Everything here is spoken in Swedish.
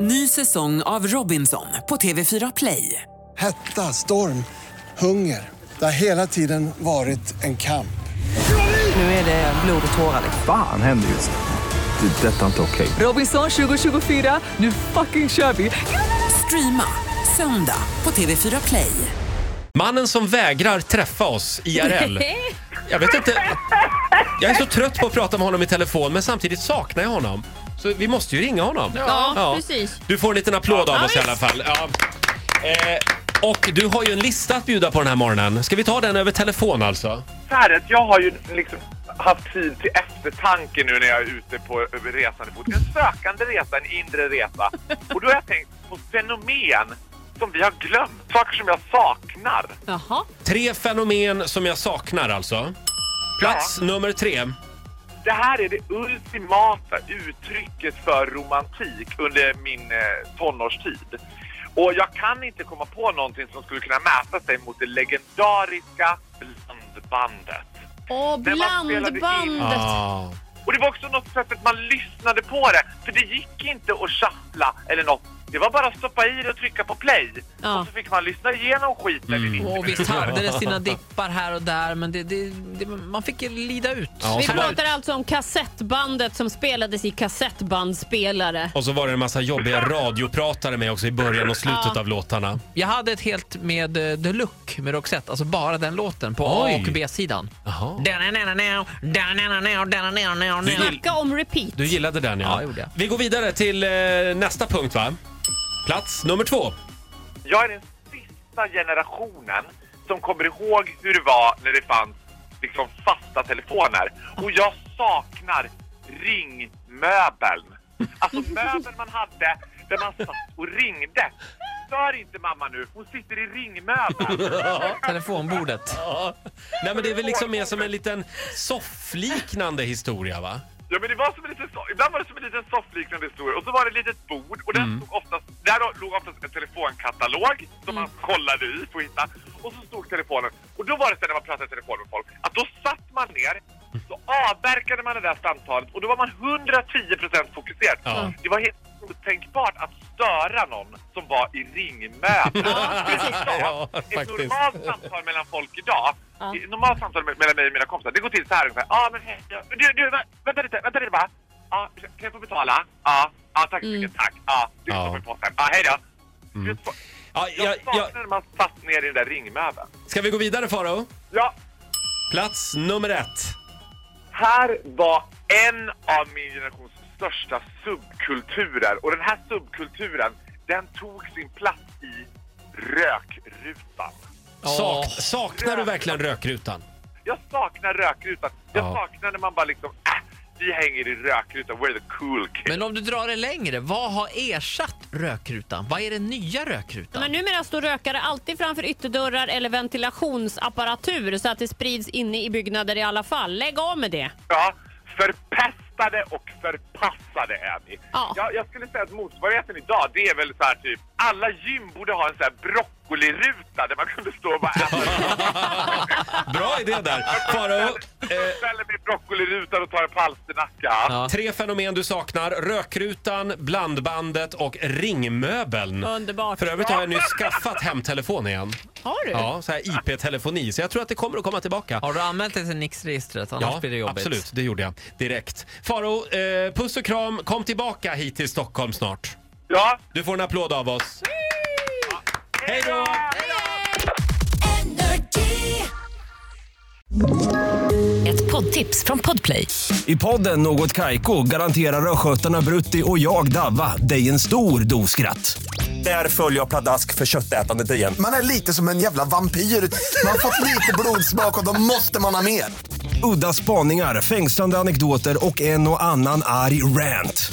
Ny säsong av Robinson på TV4 Play. Hetta, storm, hunger. Det har hela tiden varit en kamp. Nu är det blod och tårar. liksom. Fan händer just nu. Det. är Detta är inte okej. Robinson 2024, nu fucking kör vi! Streama söndag på TV4 Play. Mannen som vägrar träffa oss IRL. Jag vet inte. Jag är så trött på att prata med honom i telefon men samtidigt saknar jag honom. Så vi måste ju ringa honom. Ja, precis. Du får en liten applåd av Ja, oss i alla fall. Ja. Eh, och du har ju en lista att bjuda på den här morgonen. Ska vi ta den över telefon alltså? så här att jag har ju liksom haft tid till eftertanke nu när jag är ute på över resande fot. En sökande resa, en inre resa. Och då har jag tänkt på fenomen som vi har glömt. Saker som jag saknar. Jaha. Tre fenomen som jag saknar alltså. Plats nummer tre. Det här är det ultimata uttrycket för romantik under min eh, tonårstid. Och jag kan inte komma på någonting som skulle kunna mäta sig mot det legendariska blandbandet. Åh, När man spelade blandbandet. Ah. Och det var också något sättet man lyssnade på det, för det gick inte att shuffla eller något. Det var bara att stoppa i det och trycka på play. Ja. Och så fick man lyssna igenom skiten i 90 Och visst hade det sina dippar här och där, men det, det, det, man fick ju lida ut. Ja, och, Vi så var, pratar alltså om kassettbandet som spelades i kassettbandspelare. och så var det en massa jobbiga radiopratare med också i början och slutet av låtarna. Jag hade ett helt med eh, Deluxe med Roxette, alltså bara den låten på A Oj. och B-sidan. Jaha. Du gill- Snacka om repeat. Du gillade den ja. Ja, jag gjorde jag. Vi går vidare till eh, nästa punkt va? Plats nummer två. Jag är den sista generationen som kommer ihåg hur det var när det fanns liksom fasta telefoner. Och jag saknar ringmöbeln. Alltså möbeln man hade där man satt och ringde. Stör inte mamma nu, hon sitter i ringmöbeln. Telefonbordet. Ja. Nej men det är väl liksom mer som en liten soffliknande historia va? Ja men det var som en liten soff, ibland var det som en liten soffliknande historia och så var det ett litet bord och Mm. där, stod oftast, där låg oftast en telefonkatalog som Mm. man kollade i för att hitta och så stod telefonen och då var det så när man pratade i telefon med folk att då satt man ner så avverkade man det där samtalet och då var man 110% fokuserad. Ja. Det var helt otänkbart att störa någon som var i ringmöte. Ja, Ett faktiskt. normalt samtal mellan folk idag, ett normalt samtal me- mellan mig och mina kompisar, det går till så här ungefär. Ja, men hej, ja, du, du, vä- vänta lite, vänta lite bara. Ja, kan jag få betala? Ja, ja tack så Mm. mycket, tack. Ja, du Ja. stoppar i påsen. Ja, hej då. Du, Ja, jag ja, ja. saknar när man satt ner i den där ringmöbeln. Ska vi gå vidare Faro? Ja, Plats nummer ett. här var en av min generations största subkulturer. Och den här subkulturen, den tog sin plats i rökrutan. Sak, saknar du verkligen rökrutan? Jag saknar rökrutan. Jag Ja. saknar när man bara liksom, äh, vi hänger i rökrutan, we're the cool kids. Men om du drar det längre, vad har ersatt rökrutan? Vad är den nya rökrutan? Men numera står rökare alltid framför ytterdörrar eller ventilationsapparatur så att det sprids inne i byggnader i alla fall. Lägg av med det. Ja, förpestade och förpassade är vi. Ja. Jag, jag skulle säga att motsvarigheten idag, det är väl så här typ, alla gym borde ha en sån här broccoliruta där man kunde stå och bara "Äh, äta. Bra idé där. Faro, Jag ställer mig i broccolirutan och tar en palsternacka. Ja. eh, tre fenomen du saknar. Rökrutan, blandbandet och ringmöbeln. Underbart. För övrigt har jag nyss skaffat hemtelefon igen. Har du? Ja, så här IP-telefoni. Så jag tror att det kommer att komma tillbaka. Har du anmält dig till Nix-registret? Annars blir det jobbigt. absolut. Det gjorde jag direkt. Faro, eh, puss och kram. Kom tillbaka hit till Stockholm snart. Ja. Du får en applåd av oss. Hej då! Ett poddtips från Podplay. I podden Något Kaiko garanterar östgötarna Brutti och jag, Davva, dig en stor dos skratt. Där följer jag pladask för köttätandet igen. Man är lite som en jävla vampyr. Man har fått lite blodsmak och då måste man ha mer. Udda spaningar, fängslande anekdoter och en och annan arg rant.